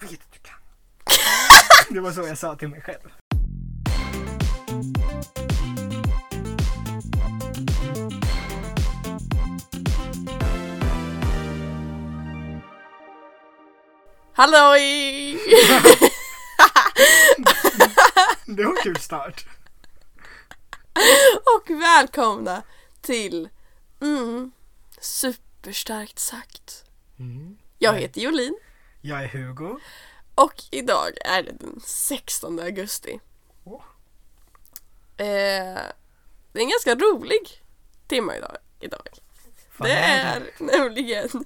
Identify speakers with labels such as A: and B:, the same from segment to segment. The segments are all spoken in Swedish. A: vet att du kan. Det var så jag sa till mig själv.
B: Halloj!
A: Det var en kul start.
B: Och välkomna till mm, Superstarkt sagt.
A: Mm.
B: Jag heter Jolin
A: Jag är Hugo.
B: och idag är det den 16 augusti.
A: Åh.
B: Eh, det är en ganska rolig timme idag. idag.
A: Fan,
B: Det är nämligen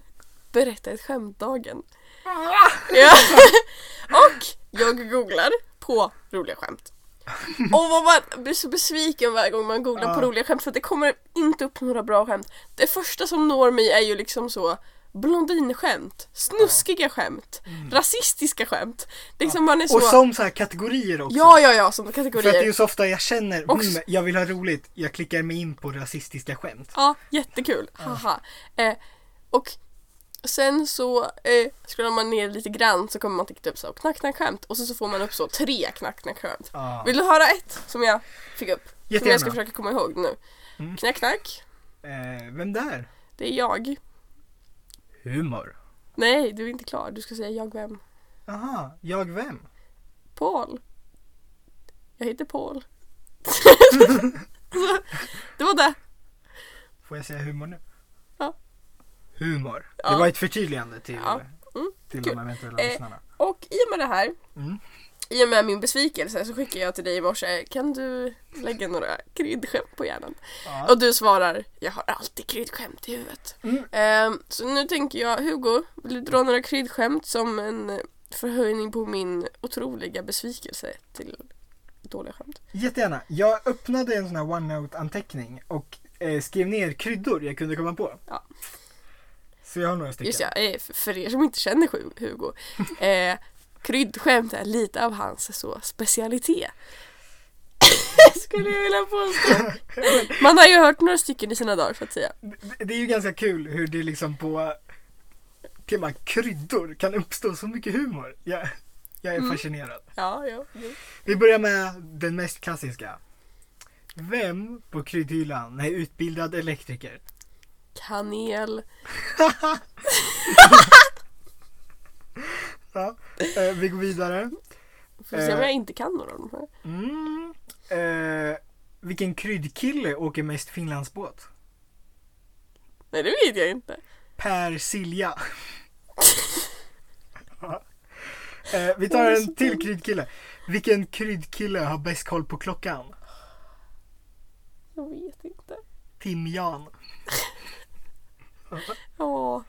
B: Berätta ett skämt-dagen.
A: Ah!
B: Ja. Och jag googlar på roliga skämt. Och vad man blir så besviken varje gång man googlar på
A: Ja.
B: roliga skämt för att det kommer inte upp några bra skämt. Det första som når mig är ju liksom så blondinskämt, snuskiga skämt, rasistiska skämt. Det är liksom man Mm. är så...
A: Och som så här kategorier också.
B: Ja, ja, ja, som
A: För att det är
B: kategorier.
A: ju så ofta jag känner,
B: Och-
A: mm, jag vill ha roligt, jag klickar mig in på rasistiska skämt.
B: Ja, jättekul. Haha. Eh, och sen så eh, scrollar man ner lite grann så kommer man till typ så knack, knack, skämt och så, så får man upp så tre knack, knack, skämt.
A: Ah.
B: Vill du höra ett som jag fick upp? Som
A: Jättegärna.
B: jag ska försöka komma ihåg nu.
A: Mm.
B: Knack knack,
A: Eh, vem där?
B: det är jag.
A: Humor.
B: Nej, du är inte klar. Du ska säga jag vem?
A: Aha, jag vem?
B: Paul. Jag heter Paul. det var det.
A: Får jag säga humor nu?
B: Ja.
A: Humor.
B: Ja.
A: Det var ett förtydligande till,
B: Ja. Mm,
A: till
B: kul.
A: de eventuella
B: Eh,
A: lyssnarna.
B: Och i och med det här,
A: Mm.
B: i och med min besvikelse så skickar jag till dig i morse, kan du lägga några kryddskämt på hjärnan?
A: Ja.
B: Och du svarar, jag har alltid kryddskämt i huvudet.
A: Mm.
B: Ehm, så nu tänker jag, Hugo, vill du dra några kryddskämt som en förhöjning på min otroliga besvikelse till dåliga skämt?
A: Jättegärna. Jag öppnade en sån här OneNote-anteckning och eh, skrev ner kryddor jag kunde komma på.
B: Ja.
A: Så jag har några stycken.
B: Just ja, eh, för- för er som inte känner Hu- Hugo, eh, kryddskämt är lite av hans så, specialitet. Skulle jag vilja påstå. Man har ju hört några stycken i sina dagar så att säga.
A: Det- Det är ju ganska kul hur det liksom på tema kryddor kan uppstå så mycket humor. Jag, jag är
B: Mm.
A: fascinerad.
B: Ja, ja. ja.
A: Vi börjar med den mest klassiska. Vem på kryddhyllan är utbildad elektriker?
B: Kanel.
A: Ja. Eh, vi går vidare.
B: Får se om
A: Eh.
B: jag inte kan några av de här.
A: Mm. Eh, vilken kryddkille åker mest Finlandsbåt?
B: Nej, det vet jag inte.
A: Per Silja. Ja. eh, vi tar en till kryddkille. Vilken kryddkille har bäst koll på klockan?
B: Jag vet inte.
A: Timjan.
B: Ja,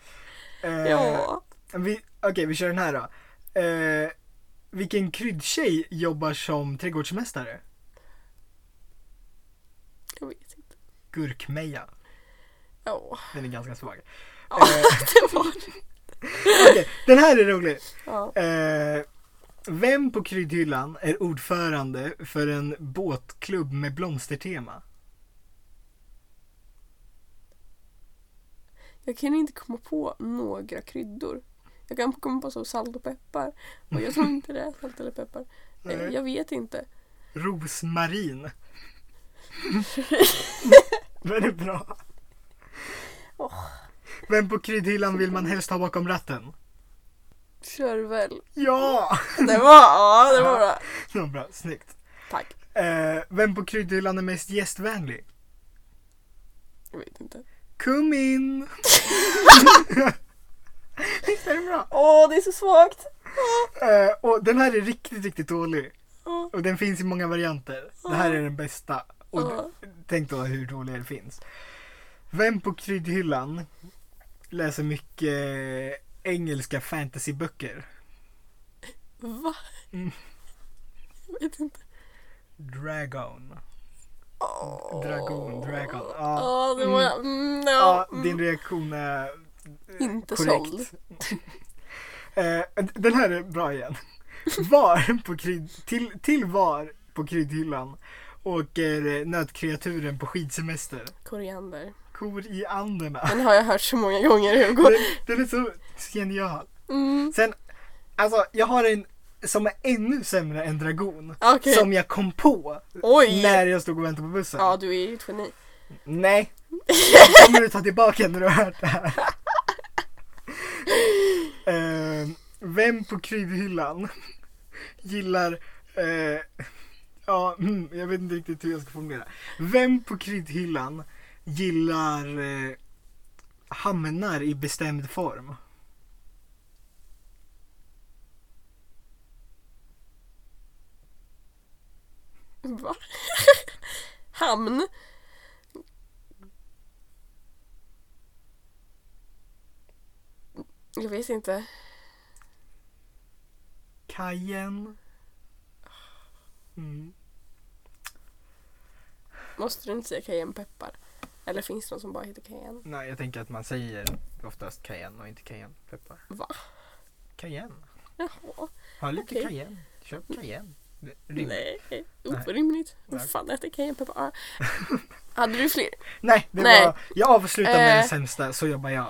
A: Eh,
B: ja.
A: vi- Okej, vi kör den här då. Eh, vilken kryddtjej jobbar som trädgårdsmästare?
B: Jag vet inte.
A: Gurkmeja.
B: Ja,
A: Den är ganska svag.
B: ja
A: Eh.
B: det var det.
A: Okej, den här är rolig.
B: Ja.
A: Eh, vem på kryddhyllan är ordförande för en båtklubb med blomstertema?
B: Jag kan inte komma på några kryddor. Jag kan komma på så salt och peppar. Och jag tror inte det är salt eller peppar. Eh,
A: Nej.
B: Jag vet inte.
A: Rosmarin. Den är bra. Vem på kryddhyllan vill man helst ha bakom ratten?
B: Körvel.
A: Ja!
B: Det var, ja det var bra.
A: Det var bra, snyggt.
B: Tack.
A: Eh, vem på kryddhyllan är mest gästvänlig?
B: Jag vet inte.
A: Come in! Visst är det bra?
B: Åh, det är så svagt.
A: Eh, och den här är riktigt, riktigt dålig.
B: Åh,
A: Och den finns i många varianter. Det här är den bästa. Och
B: Ja.
A: d- tänk då hur dåliga det finns. Vem på kryddhyllan läser mycket engelska fantasyböcker?
B: Va?
A: Mm.
B: Jag vet inte.
A: Dragon.
B: Åh.
A: Dragon, dragon. Ja,
B: Ja, det var... Mm, ja.
A: ja din reaktion är eh,
B: Inte såld.
A: korrekt. Eh, den här är bra igen. Var på krydd, till, till var på kryddhyllan åker eh, nötkreaturen på skidsemester?
B: Koriander.
A: Kor i anderna.
B: Den har jag hört så många gånger Hugo.
A: Den är så genial.
B: Mm.
A: Sen Alltså jag har en som är ännu sämre än dragon.
B: Okej.
A: Som jag kom på
B: Oj!
A: när jag stod och väntade på bussen.
B: Ja, du är ju ett geni.
A: Nej. Den kommer du ta tillbaka när du har hört det här. Eh, vem på kryddhyllan gillar... eh, ja, mm, jag vet inte riktigt hur jag ska formulera. Vem på kryddhyllan gillar eh, hamnar i bestämd form?
B: Va? Hamn? Jag vet inte.
A: Kajen? Mm.
B: Måste du inte säga cayenne peppar? Eller finns det någon som bara heter cayenne?
A: Nej, jag tänker att man säger oftast cayenne och inte cayennepeppar.
B: Va?
A: Cayenne.
B: Jaha.
A: Ha lite
B: Okej. Mm.
A: cayenne. Köp cayenne. Det- rim.
B: Nej, orimligt. Vad fan äter cayennepeppar? Ja. Hade du fler?
A: Nej, det
B: Nej.
A: Var, jag avslutar med
B: Eh.
A: den sämsta så jobbar jag.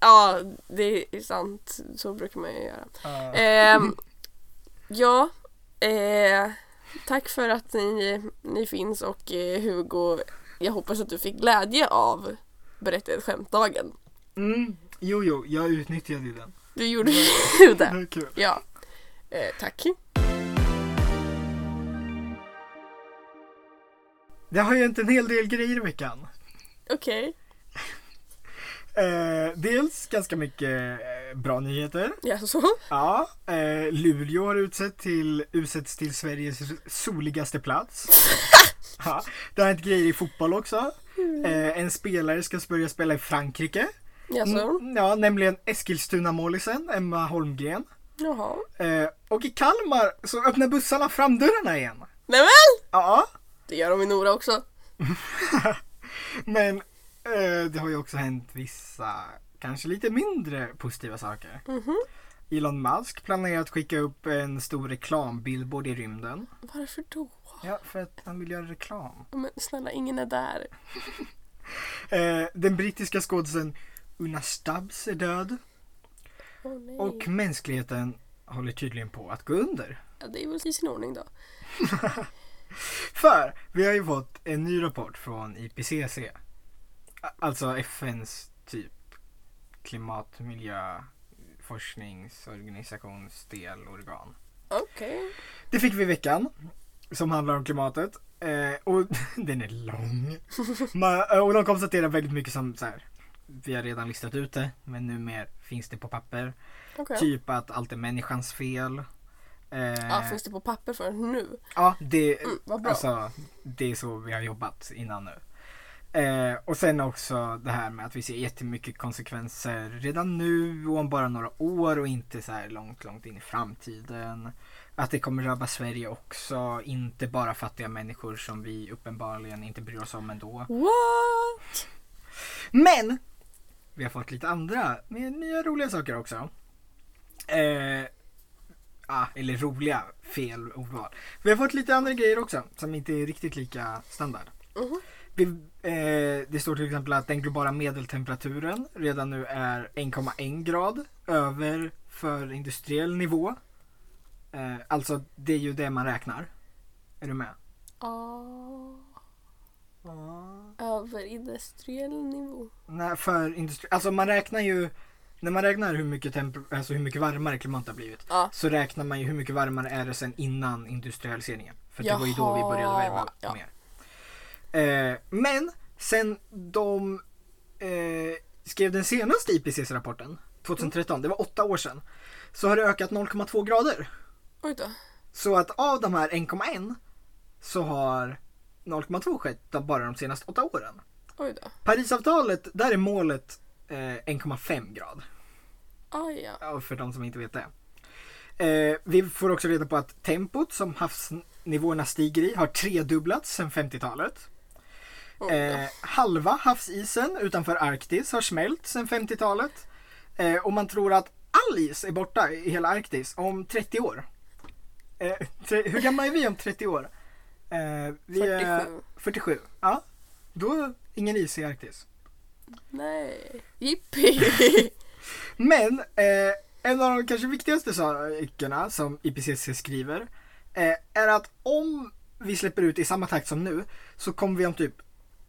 B: Ja, det är sant. Så brukar man ju göra.
A: Uh,
B: Ehm, ja, eh, tack för att ni, ni finns och eh, Hugo, jag hoppas att du fick glädje av Berätta ett skämt-dagen.
A: mm, jo, jo, jag utnyttjade ju den.
B: Du gjorde
A: Mm.
B: ju
A: Det
B: det.
A: är kul.
B: Ja, eh, tack.
A: Det har ju inte en hel del grejer i veckan.
B: Okej,
A: Eh, dels ganska mycket eh, bra nyheter.
B: jaså? så.
A: Ja, eh, Luleå har utsett till, utsetts till Sveriges soligaste plats. ja, det har hänt grejer i fotboll också. Eh, en spelare ska börja spela i Frankrike.
B: Jaså?
A: Mm, ja, nämligen Eskilstuna-målisen Emma Holmgren.
B: Jaha.
A: Eh, och i Kalmar så öppnar bussarna framdörrarna igen.
B: Nämen!
A: Ja,
B: Det gör de i Nora också.
A: men eh, det har ju också hänt vissa, kanske lite mindre positiva saker. Elon Musk planerar att skicka upp en stor reklambillboard i rymden.
B: Varför då?
A: Ja, för att han vill göra reklam.
B: Men snälla, ingen är där.
A: Eh, den brittiska skådisen Una Stubbs är död
B: Åh nej.
A: och mänskligheten håller tydligen på att gå under.
B: Ja, det är väl i sin ordning då.
A: För vi har ju fått en ny rapport från IPCC. A- Alltså FNs typ klimat, miljö, forskningsorganisationsdelorgan.
B: Okej.
A: Det fick vi i veckan. Som handlar om klimatet. Eh, och den är lång. Man, och de konstaterar väldigt mycket som så här. Vi har redan listat ut det men numera finns det på papper.
B: Okej.
A: Typ att allt är människans fel. Eh,
B: Ja, finns det på papper för nu?
A: Ja, det,
B: Mm, vad bra.
A: alltså, det är så vi har jobbat innan nu. Eh, och sen också det här med att vi ser jättemycket konsekvenser redan nu och om bara några år och inte så här långt, långt in i framtiden. Att det kommer drabba Sverige också, inte bara fattiga människor som vi uppenbarligen inte bryr oss om ändå.
B: What?
A: Men! Vi har fått lite andra, med nya roliga saker också. Eh, ah, eller roliga, fel ordval. Vi har fått lite andra grejer också som inte är riktigt lika standard.
B: Mhm.
A: Vi, eh, det står till exempel att den globala medeltemperaturen redan nu är 1,1 grad över för industriell nivå. Eh, alltså det är ju det man räknar. Är du med?
B: Ah. Över industriell nivå.
A: Nej, för industri... Alltså man räknar ju... När man räknar hur mycket, temp- alltså hur mycket varmare klimatet har blivit
B: Ja.
A: så räknar man ju hur mycket varmare är det sen innan industrialiseringen. För det var ju då vi började
B: Jaha,
A: värma
B: ja.
A: mer. Eh, men sen de eh, skrev den senaste IPCC-rapporten 2013, det var åtta år sedan, så har det ökat 0,2 grader.
B: Oj då.
A: Så att av de här 1,1 så har 0,2 skett bara de senaste åtta åren.
B: Oj då.
A: Parisavtalet, där är målet eh, 1,5 grad.
B: Aj, ja.
A: Ja, För de som inte vet det. Eh, vi får också reda på att tempot som havsnivåerna stiger i har tredubblats sedan 50-talet.
B: Oj då.
A: Eh, halva havsisen utanför Arktis har smält sedan 50-talet. Eh, och man tror att all is är borta i hela Arktis om 30 år. Eh, tre, hur gamla är vi om 30 år? Eh, vi Är
B: 47.
A: 47. Ja, då är ingen is i Arktis.
B: Nej. Jippi.
A: Men eh, En av de kanske viktigaste sakerna som IPCC skriver eh, är att om vi släpper ut i samma takt som nu så kommer vi om typ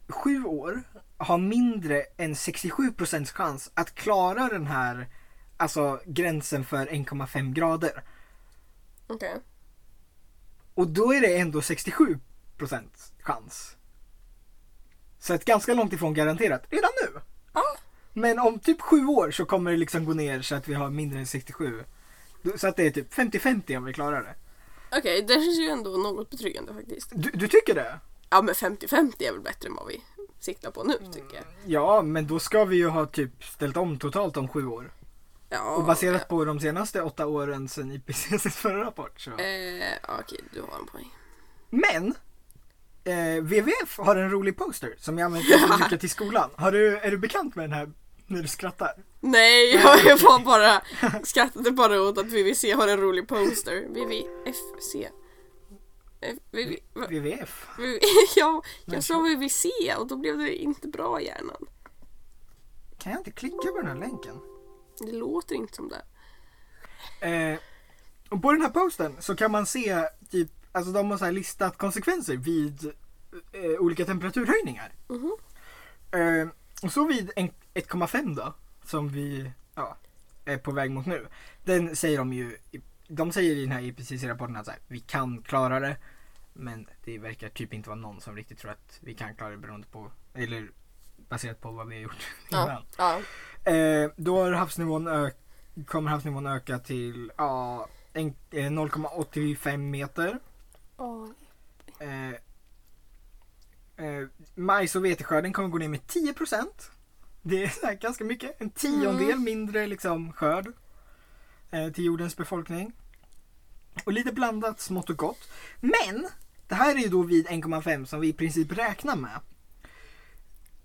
A: sju år ha mindre än 67 procents chans att klara den här alltså gränsen för 1,5 grader.
B: Okej.
A: Och då är det ändå 67 procents chans. Så ett ganska långt ifrån garanterat redan nu.
B: Ja.
A: Men om typ sju år så kommer det liksom gå ner så att vi har mindre än 67. Så att det är typ 50-50 om vi klarar det.
B: Okej, det känns ju ändå något betryggande faktiskt.
A: Du, du tycker det?
B: Ja men 50-50 är väl bättre än vad vi siktar på
A: Mm.
B: nu tycker jag.
A: Ja, men då ska vi ju ha typ ställt om totalt om sju år.
B: Ja,
A: Och baserat på de senaste åtta åren sedan IPCCs förra rapport. Så.
B: ja. Eh, ja, okej, du har en poäng.
A: Men! Eh, WWF har en rolig poster som jag använt ganska mycket till skolan. Har du, är du bekant med den här när du skrattar?
B: Nej, jag har ju fan bara skrattade bara åt att VVC har en rolig poster. VVFC. Eh, VV, va-
A: WWF?
B: VV, ja, jag sa VVC och då blev det inte bra i hjärnan.
A: Kan jag inte klicka på den här länken?
B: Det låter inte som det.
A: Eh, och på den här posten så kan man se typ, alltså de har så här listat konsekvenser vid eh, olika temperaturhöjningar.
B: Mhm.
A: Eh, och så vid en- 1,5 då, som vi ja, är på väg mot nu. Den säger de ju, de säger i den här IPCC-rapporten att så här, vi kan klara det. Men det verkar typ inte vara någon som riktigt tror att vi kan klara det beroende på, eller baserat på vad vi har gjort innan.
B: Ja,
A: Eh, då har havsnivån ö- kommer havsnivån öka till ja, en- eh, 0,85 meter.
B: ja.
A: Eh, eh, majs och veteskörden kommer gå ner med 10 Det är så här ganska mycket. En tiondel
B: Mm.
A: mindre liksom, skörd eh, till jordens befolkning. Och lite blandat smått och gott. Men det här är ju då vid 1,5 som vi i princip räknar med.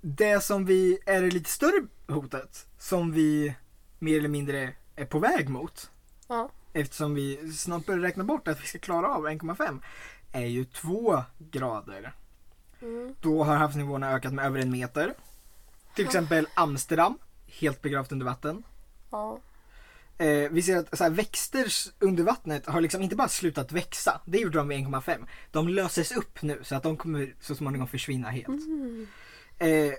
A: Det som vi är det lite större hotet som vi mer eller mindre är på väg mot
B: ja.
A: eftersom vi snart börjar räkna bort att vi ska klara av 1,5 är ju 2 grader.
B: Mm.
A: Då har havsnivåerna ökat med över en meter. Till exempel Amsterdam, helt begravt under vatten.
B: ja.
A: Eh, vi ser att så här, växter s- under vattnet har liksom inte bara slutat växa, det gjorde de vid 1,5. De löses upp nu så att de kommer så småningom försvinna helt.
B: Mm.
A: Eh,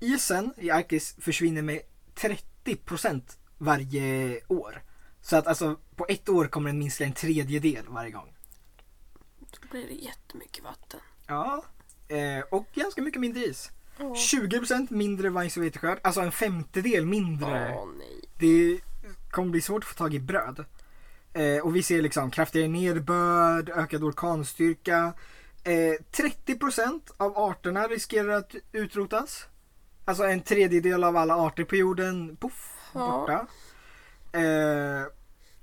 A: isen i Arktis försvinner med 30% varje år. Så att alltså på ett år kommer den minska en tredjedel varje gång.
B: Då blir det jättemycket vatten.
A: Ja. Eh, och ganska mycket mindre is.
B: Åh
A: 20% mindre majs och veteskörd, alltså en femtedel mindre.
B: Åh, nej.
A: Det kommer bli svårt att få tag i bröd. Eh, och vi ser liksom kraftigare nederbörd, ökad orkanstyrka. Eh, 30% av arterna riskerar att utrotas. Alltså en tredjedel av alla arter på jorden, poff,
B: Ja.
A: borta. Eh,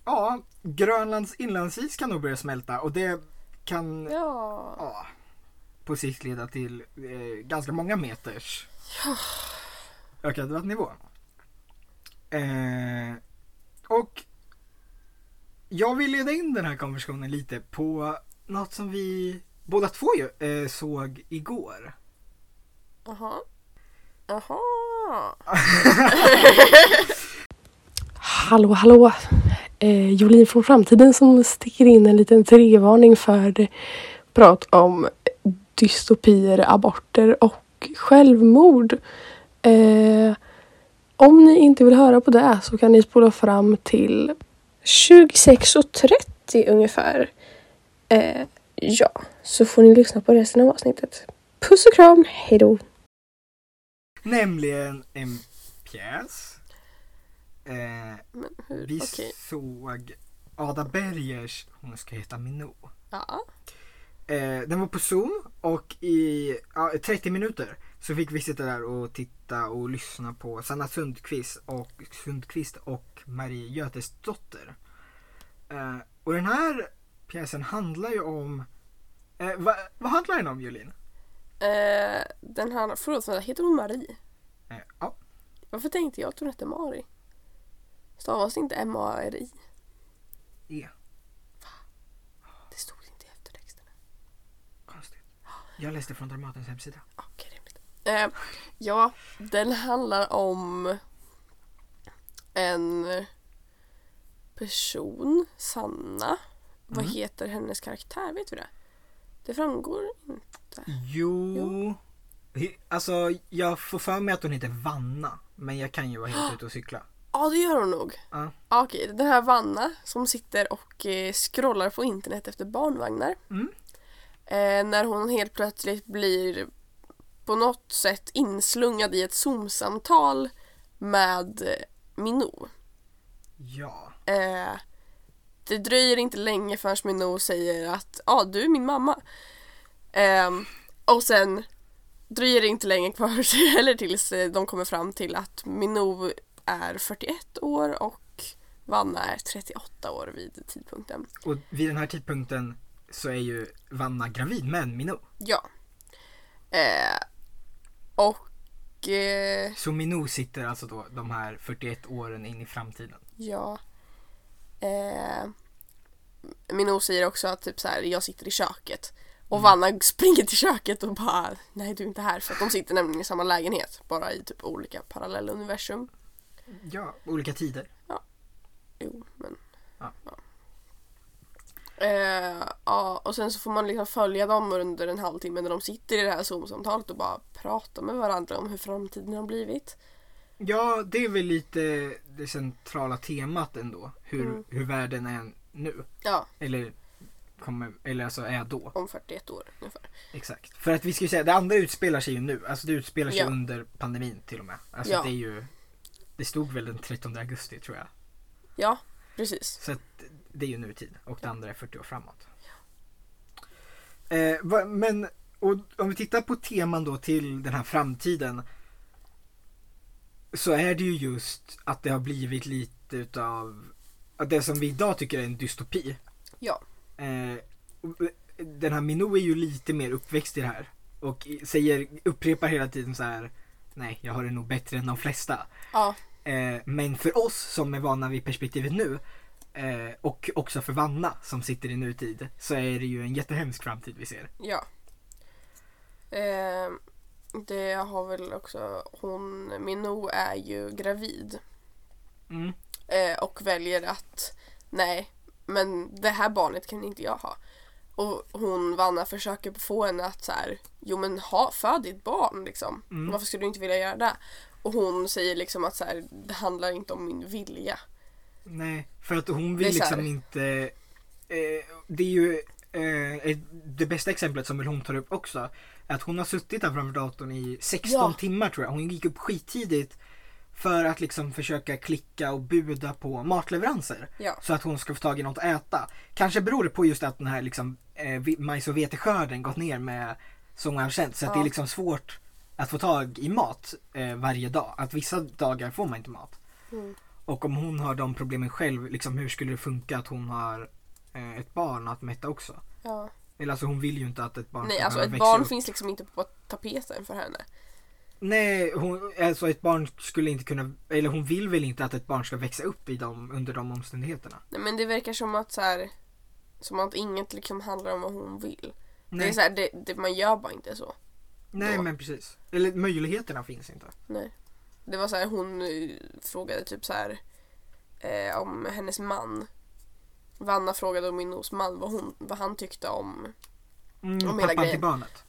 A: ja, Grönlands inlandsis kan nog börja smälta och det kan
B: Ja.
A: ja, på sikt leda till eh, ganska många meters ökad vattennivå. Eh, och jag vill leda in den här konversationen lite på något som vi båda två ju, eh, såg igår.
B: Jaha. Jaha.
C: Hallå, hallå! Eh, Jolin från framtiden som sticker in en liten trevarning för prat om dystopier, aborter och självmord. Eh, om ni inte vill höra på det så kan ni spola fram till
D: 26.30 ungefär. Eh, ja, så får ni lyssna på resten av avsnittet. Puss och kram, hejdå!
A: Nämligen en pjäs. Eh,
B: Men hur?
A: vi
B: Okej.
A: såg Ada Bergers Hon ska heta Minou.
B: Ja.
A: Eh, den var på Zoom och i ja, 30 minuter så fick vi sitta där och titta och lyssna på Sanna Sundqvist och, Sundqvist och Marie Götesdotter. Eh, och den här pjäsen handlar ju om... Eh, vad, vad handlar den om Julin?
B: Eh, den här, förlåt, vänta, heter hon Marie?
A: Eh, ja,
B: Varför tänkte jag att hon hette Mari? Stavas det inte M-A-R-I?
A: E.
B: Det stod inte i eftertexterna.
A: Konstigt. Jag läste från Dramatens hemsida.
B: Ah, Okej, rimligt. Eh, ja, den handlar om en person, Sanna. Vad heter hennes karaktär? Vet vi det? Det framgår inte.
A: Jo. He- Alltså jag får för mig att hon heter Vanna. Men jag kan ju vara helt ute och cykla.
B: Ja, det gör hon nog.
A: Ja.
B: Ja, Okej, den här Vanna som sitter och eh, scrollar på internet efter barnvagnar.
A: Mm.
B: Eh, när hon helt plötsligt blir på något sätt inslungad i ett Zoom-samtal med eh, Minou.
A: Ja.
B: Eh, det dröjer inte länge förrän Minou säger att ja, ah, du är min mamma. Ehm, och sen dröjer det inte länge kvar eller tills eh, de kommer fram till att Minou är 41 år och Vanna är 38 år vid tidpunkten.
A: Och vid den här tidpunkten så är ju Vanna gravid med en Minou.
B: Ja. Eh, och eh,
A: Så Minou sitter alltså då de här 41 åren in i framtiden.
B: Ja. Eh, Minou säger också att typ så här, jag sitter i köket. Och Vanna springer till köket och bara nej du är inte här för att de sitter nämligen i samma lägenhet bara i typ olika parallella universum.
A: Ja, olika tider.
B: Jo men.
A: Ja.
B: Ja. Eh, ja och sen så får man liksom följa dem under en halvtimme när de sitter i det här zoom-samtalet och bara prata med varandra om hur framtiden har blivit.
A: Ja, det är väl lite det centrala temat ändå. Hur,
B: Mm.
A: hur världen är nu.
B: Ja,
A: Eller, kommer, eller alltså är då.
B: om 41 år ungefär.
A: Exakt. För att vi ska ju säga, det andra utspelar sig ju nu. Alltså det utspelar sig
B: Ja.
A: under pandemin till och med. Alltså
B: Ja.
A: det är ju, det stod väl den 13 augusti tror jag.
B: Ja, precis.
A: Så att det är ju nutid och det andra är 40 år framåt. Eh, va, men och om vi tittar på teman då till den här framtiden. Så är det ju just att det har blivit lite utav att det som vi idag tycker är en dystopi.
B: Ja.
A: Eh, och, eh, den här Minou är ju lite mer uppväxt i det här. Och i- säger, upprepar hela tiden så här. Nej, jag har det nog bättre än de flesta.
B: Ja,
A: Eh, men för oss som är vana vid perspektivet nu eh, och också för Vanna som sitter i nutid så är det ju en jättehemsk framtid vi ser.
B: Ja. Eh, det har väl också hon, Minou är ju gravid
A: Mm.
B: eh, och väljer att nej, men det här barnet kan inte jag ha. Och hon, Vanna, försöker få henne att så här, jo men ha, föd ditt barn liksom.
A: Mm.
B: Varför skulle du inte vilja göra det? Och hon säger liksom att så här, det handlar inte om min vilja.
A: Nej, för att hon
B: Det
A: vill
B: är så här.
A: liksom inte... Eh, det är ju eh, ett- det bästa exemplet som väl hon tar upp också. Att hon har suttit där framför datorn i 16
B: Ja.
A: timmar tror jag. Hon gick upp skittidigt för att liksom försöka klicka och buda på matleveranser.
B: Ja.
A: Så att hon ska få tag i något att äta. Kanske beror det på just att den här liksom, eh, vi- majs och veteskörden gått ner med som har känt. Så att
B: Ja.
A: det är liksom svårt att få tag i mat eh, varje dag. Att vissa dagar får man inte mat.
B: Mm.
A: Och om hon har de problemen själv, liksom, hur skulle det funka att hon har eh, ett barn att mätta också?
B: Ja.
A: Eller alltså hon vill ju inte att ett barn
B: Nej,
A: ska
B: alltså
A: behöva
B: ett
A: växa
B: barn
A: upp.
B: finns liksom inte på tapeten för henne.
A: Nej, hon, alltså ett barn skulle inte kunna, eller hon vill väl inte att ett barn ska växa upp i dem under de omständigheterna.
B: Nej men det verkar som att så här, som att inget liksom handlar om vad hon vill. Det är
A: Nej,
B: så här, det, det, man gör bara inte så.
A: nej
B: då.
A: men precis. Eller möjligheterna finns inte.
B: Nej. Det var så här, hon eh, frågade typ så här eh, om hennes man. Vanna frågade om Minnos man vad, hon, vad han tyckte om.
A: Mm,
B: Om
A: och pappan
B: hela
A: till
B: grejen.
A: barnet.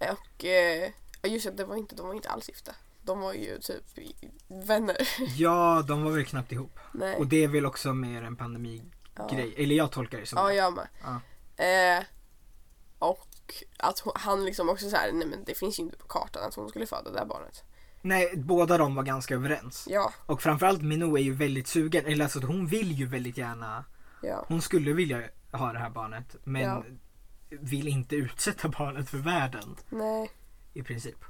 B: Eh, Och eh, ja, just det, det var inte, de var inte alls gifta. De var ju typ i- vänner.
A: Ja, de var väl knappt ihop.
B: Nej.
A: Och det är väl också mer en pandemigrej.
B: ja.
A: Eller jag tolkar det som
B: Ja,
A: det.
B: jag med.
A: Ja.
B: Eh, och att hon, han liksom också så här, nej men det finns ju inte på kartan att hon skulle föda det där barnet.
A: Nej, båda de var ganska överens.
B: Ja,
A: Och framförallt Minou är ju väldigt sugen, eller alltså hon vill ju väldigt gärna,
B: ja.
A: hon skulle vilja ha det här barnet men
B: Ja.
A: vill inte utsätta barnet för världen
B: Nej,
A: i princip.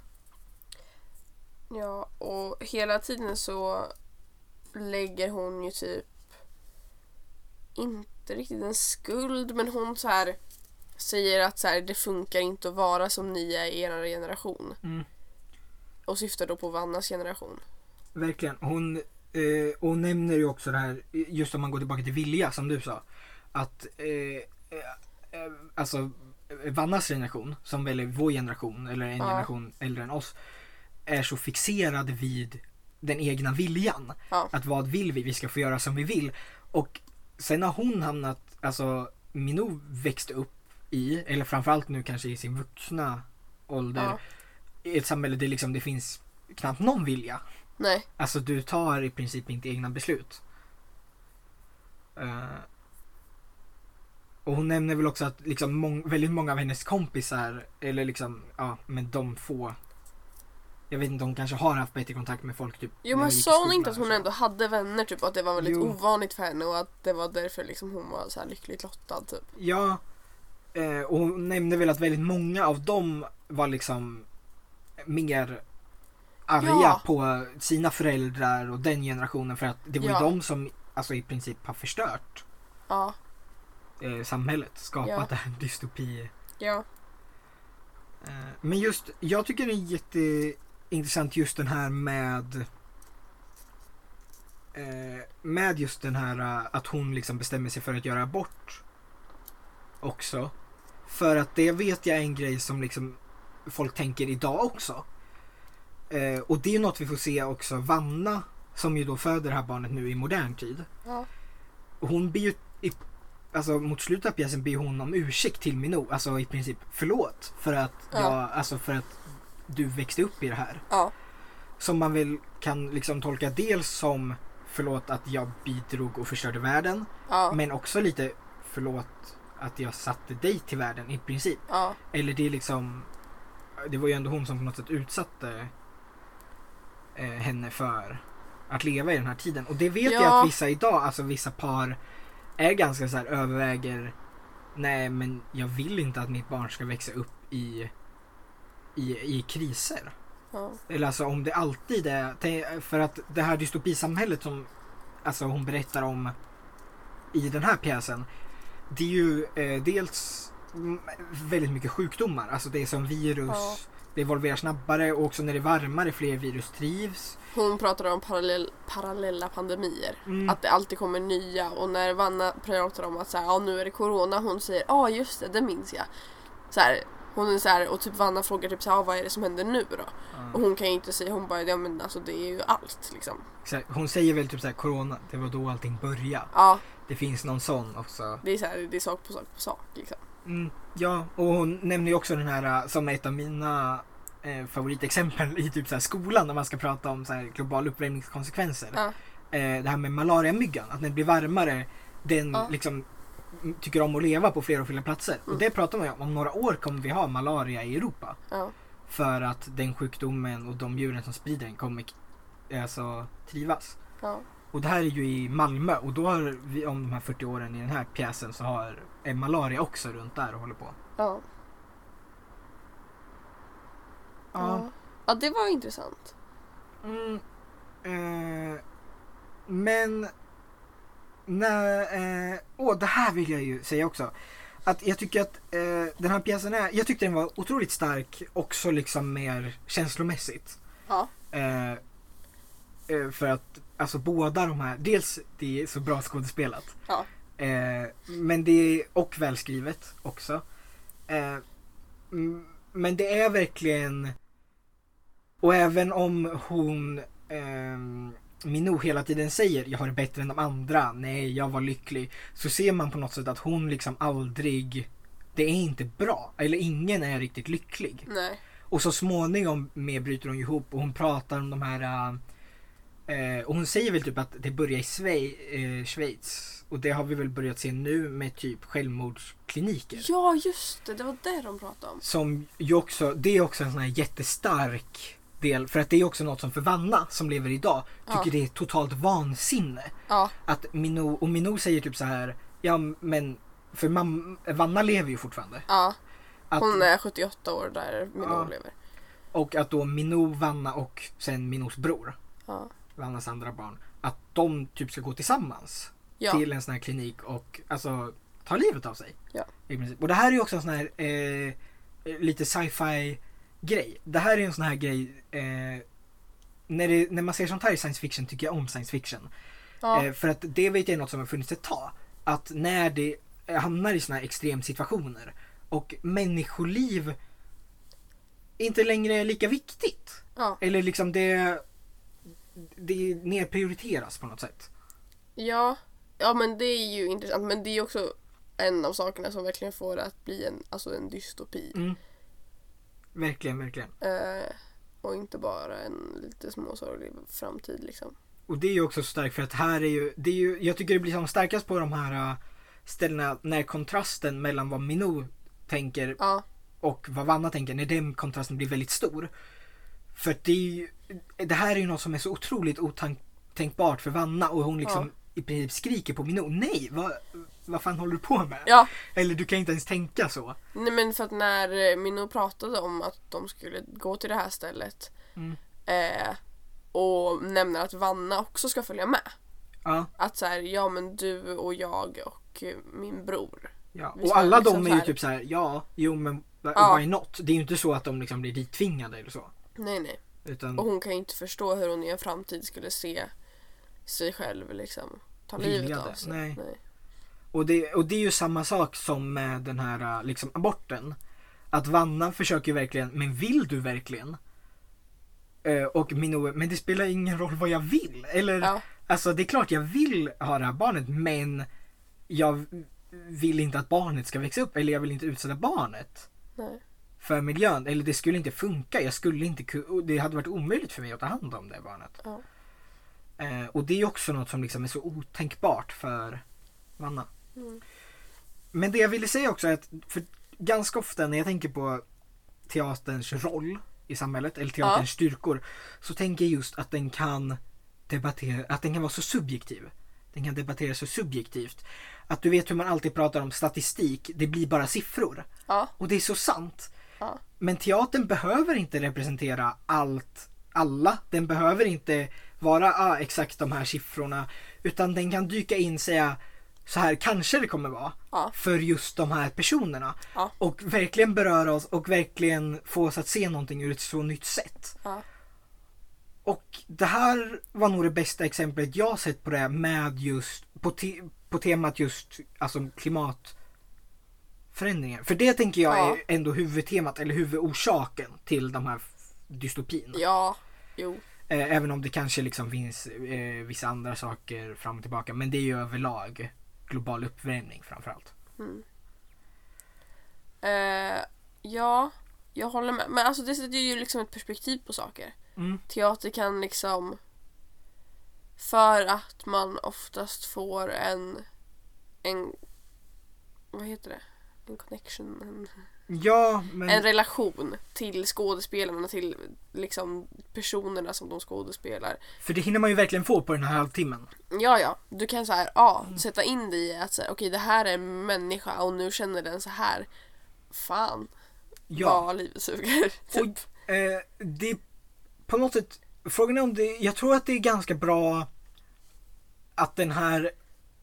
B: ja och hela tiden så lägger hon ju typ inte riktigt en skuld men hon så här säger att så här, det funkar inte att vara som ni är i er generation.
A: Mm.
B: Och syftar då på Vannas generation.
A: Verkligen. Hon, eh, och hon nämner ju också det här, just om man går tillbaka till vilja som du sa. Att eh, eh, eh, alltså eh, Vannas generation, som väl är vår generation eller en
B: Ja.
A: generation äldre än oss, är så fixerad vid den egna viljan.
B: Ja.
A: Att vad vill vi? Vi ska få göra som vi vill. Och sen har hon hamnat, alltså Minou växte upp i, eller framförallt nu kanske i sin vuxna ålder,
B: Ja.
A: i ett samhälle där liksom det finns knappt någon vilja.
B: Nej.
A: Alltså du tar i princip inte egna beslut. Eh, och hon nämner väl också att liksom mång- väldigt många av hennes kompisar, eller liksom, ja, men de få. Jag vet inte, hon kanske har haft bättre kontakt med folk typ. när
B: Jo men
A: gick i
B: sa hon
A: skolan
B: inte att hon
A: och så.
B: ändå hade vänner typ? och Att det var väldigt
A: Jo.
B: ovanligt för henne och att det var därför liksom hon var så här lyckligt lottad typ.
A: Ja. Eh, och hon nämnde väl att väldigt många av dem var liksom mer arga
B: Ja.
A: på sina föräldrar och den generationen för att det var
B: Ja.
A: ju de som alltså, i princip har förstört
B: Ja.
A: eh, samhället, skapat
B: Ja.
A: den här dystopi.
B: Ja.
A: Eh, men just, jag tycker det är jätteintressant just den här med eh, med just den här eh, att hon liksom bestämmer sig för att göra abort också. För att det vet jag är en grej som liksom folk tänker idag också. Eh, och det är något vi får se också Vanna som ju då föder det här barnet nu i modern tid.
B: Ja.
A: Och hon blir ju i, alltså mot slutet av pjäsen ber hon om ursäkt till Minou, alltså i princip förlåt för att
B: Ja.
A: jag, alltså för att du växte upp i det här.
B: Ja.
A: Som man väl kan liksom tolka dels som förlåt att jag bidrog och förstörde världen.
B: Ja.
A: Men också lite förlåt att jag satte dig till världen i princip.
B: Ja.
A: Eller det är liksom Det var ju ändå hon som på något sätt utsatte eh, henne för att leva i den här tiden. Och det vet jag
B: Ja.
A: att vissa idag, alltså vissa par är ganska så här överväger Nej men jag vill inte att mitt barn ska växa upp i i, i kriser.
B: Ja.
A: Eller alltså om det alltid är tänk- för att det här dystopisamhället som alltså hon berättar om i den här pjäsen det är ju eh, dels mm, väldigt mycket sjukdomar. Alltså det är som virus,
B: Ja.
A: det evolverar snabbare och också när det är varmare fler virus trivs.
B: Hon pratade om parallell, parallella pandemier.
A: Mm.
B: Att det alltid kommer nya och när Vanna pratar om att så här, ja, nu är det corona, hon säger ja ah, just det, det minns jag. Så här, hon är så här, och typ Vanna frågar typ så här, ah, vad är det som händer nu då? Och hon kan ju inte säga, hon bara ja men alltså det är ju allt liksom.
A: Så här, Hon säger väl typ såhär corona, det var då allting började.
B: Ja,
A: Det finns någon sån också.
B: det är så här, det är sak på sak på sak liksom.
A: Mm, ja, och hon nämner ju också den här eh, som är ett av mina eh, favoritexempel i typ så här skolan när man ska prata om så här global uppvärmningskonsekvenser.
B: Ja.
A: Eh, det här med malariamyggan, att när det blir varmare den
B: Ja. Mm.
A: liksom m- tycker om att leva på fler och fler platser. Och det pratar man ju om, om några år kommer vi ha malaria i Europa.
B: Ja,
A: För att den sjukdomen och de djuren som sprider den kommer eh, alltså, trivas.
B: ja,
A: Och det här är ju i Malmö och då har vi om de här 40 åren i den här pjäsen så har är malaria också runt där och håller på.
B: ja. Ja. ja det var intressant.
A: Mm. Eh, men... Nej, eh, åh, det här vill jag ju säga också. Att jag tycker att eh, den här pjäsen är, jag tyckte den var otroligt stark också liksom mer känslomässigt.
B: Ja.
A: Eh, eh, för att alltså båda de här, dels det är så bra skådespelat.
B: Ja.
A: Eh, men det är, och välskrivet också. Eh, mm, men det är verkligen och även om hon ehm, Minou hela tiden säger jag har det bättre än de andra, nej jag var lycklig. Så ser man på något sätt att hon liksom aldrig, det är inte bra. Eller ingen är riktigt lycklig.
B: Nej.
A: Och så småningom med bryter hon ihop och hon pratar om de här eh, eh, och hon säger väl typ att det börjar i Schweiz, eh, Schweiz. Och det har vi väl börjat se nu med typ självmordskliniker.
B: Ja just det, det var det de pratade om.
A: Som ju också, det är också en sån här jättestark del. För att det är också något som för Vanna som lever idag tycker
B: Ja.
A: det är totalt vansinne.
B: Ja,
A: Att Minou, och Minou säger typ så här, ja men för mam, Vanna lever ju fortfarande.
B: ja.
A: Att,
B: Hon är 78 år där min
A: Ja.
B: mor lever.
A: Och att då Minou, Vanna och sen Minous bror,
B: Ja.
A: Vannas andra barn, att de typ ska gå tillsammans
B: Ja.
A: till en sån här klinik och alltså ta livet av sig.
B: Ja.
A: I princip. Och det här är ju också en sån här eh, lite sci-fi grej. Det här är ju en sån här grej eh, när, det, när man ser sånt här i science fiction tycker jag om science fiction.
B: Ja.
A: Eh, för att det vet jag är något som har funnits ett tag. Att när det eh, hamnar i såna här extremsituationer och människoliv inte längre är lika viktigt.
B: Ja.
A: Eller liksom det, det nedprioriteras på något sätt.
B: ja. Ja men det är ju intressant men det är ju också en av sakerna som verkligen får det att bli en, alltså en dystopi.
A: Mm. Verkligen, verkligen.
B: Eh, och inte bara en lite småsorglig framtid liksom.
A: Och det är ju också starkt för att här är ju, det är ju jag tycker det blir som starkast på de här äh, ställena när kontrasten mellan vad Minou tänker
B: Ja,
A: och vad Vanna tänker, när den kontrasten blir väldigt stor. För att det är ju, det här är ju något som är så otroligt otänkbart för Vanna och hon liksom i princip skriker på Minou, nej vad, vad fan håller du på med?
B: ja.
A: Eller du kan inte ens tänka så.
B: Nej men för att när eh, Minno pratade om att de skulle gå till det här stället
A: Mm.
B: eh, och nämner att Vanna också ska följa med.
A: Ja,
B: Att så här, ja men du och jag och eh, min bror.
A: ja.
B: Vi
A: Och
B: ska
A: alla
B: liksom
A: de
B: så
A: är ju
B: här-
A: typ så här, ja, jo men why
B: Ja.
A: why not? Det är ju inte så att de liksom blir dittvingade eller så.
B: Nej nej.
A: Utan
B: Och hon kan ju inte förstå hur hon i en framtid skulle se sig själv liksom ta
A: Vilja
B: livet
A: det,
B: av sig.
A: nej. Och det, och det är ju samma sak som med den här äh, liksom, aborten. Att Vanna försöker ju verkligen, men vill du verkligen? Eh, Och Minoe, men det spelar ingen roll vad jag vill. Eller,
B: Ja.
A: alltså det är klart jag vill ha det här barnet men jag vill inte att barnet ska växa upp eller jag vill inte utsätta barnet
B: Nej.
A: för miljön. Eller det skulle inte funka, jag skulle inte ku- och det hade varit omöjligt för mig att ta hand om det barnet.
B: Ja.
A: Eh, och det är ju också något som liksom är så otänkbart för Vanna.
B: Mm.
A: Men det jag ville säga också är att för ganska ofta när jag tänker på teaterns roll i samhället eller teaterns
B: Ja.
A: styrkor så tänker jag just att den kan debattera, att den kan vara så subjektiv. Den kan debattera så subjektivt. Att du vet hur man alltid pratar om statistik, det blir bara siffror.
B: Ja,
A: Och det är så sant.
B: ja,
A: Men teatern behöver inte representera allt, alla. Den behöver inte vara ah, exakt de här siffrorna. Utan den kan dyka in och säga så här kanske det kommer vara.
B: Ja.
A: För just de här personerna.
B: Ja.
A: Och verkligen beröra oss och verkligen få oss att se någonting ur ett så nytt sätt.
B: ja.
A: Och det här var nog det bästa exemplet jag sett på det här med just på, te- på temat just alltså klimatförändringar. För det tänker jag
B: Ja.
A: är ändå huvudtemat eller huvudorsaken till de här f- dystopierna.
B: Ja, jo.
A: Eh, även om det kanske liksom finns eh, vissa andra saker fram och tillbaka. Men det är ju överlag global uppvärmning framförallt.
B: Eh, ja, jag håller med. Men alltså det sätter ju liksom ett perspektiv på saker.
A: Mm.
B: Teater kan liksom... För att man oftast får en... En... Vad heter det? En connection. En,
A: Ja, men...
B: en relation till skådespelarna, till liksom personerna som de skådespelar.
A: För det hinner man ju verkligen få på den här halvtimmen.
B: Ja, ja. Du kan så här, ja,
A: Mm.
B: sätta in dig i att så här, okej det här är en människa och nu känner den så här. Fan,
A: Ja.
B: vad livet suger.
A: Och,
B: Typ.
A: eh, det, på något sätt, frågan är om det, jag tror att det är ganska bra att den här,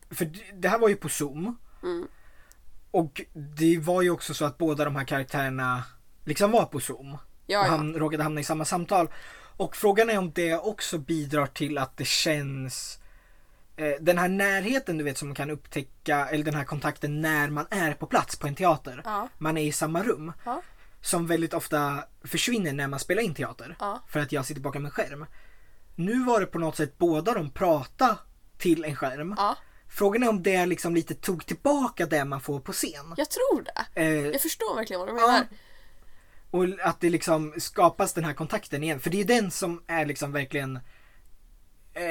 A: för d- det här var ju på zoom.
B: Mm.
A: Och det var ju också så att båda de här karaktärerna liksom var på zoom.
B: Ja,
A: och
B: ja.
A: han råkade hamna i samma samtal. Och frågan är om det också bidrar till att det känns eh, den här närheten du vet som man kan upptäcka, eller den här kontakten när man är på plats på en teater.
B: Ja.
A: Man är i samma rum
B: Ja.
A: som väldigt ofta försvinner när man spelar in teater.
B: Ja.
A: För att jag sitter bakom en skärm. Nu var det på något sätt båda de prata till en skärm.
B: Ja,
A: Frågan är om det liksom lite tog tillbaka det man får på scen.
B: jag tror det.
A: Eh,
B: Jag förstår verkligen vad du
A: Ja.
B: menar.
A: och att det liksom skapas den här kontakten igen. För det är den som är liksom verkligen eh,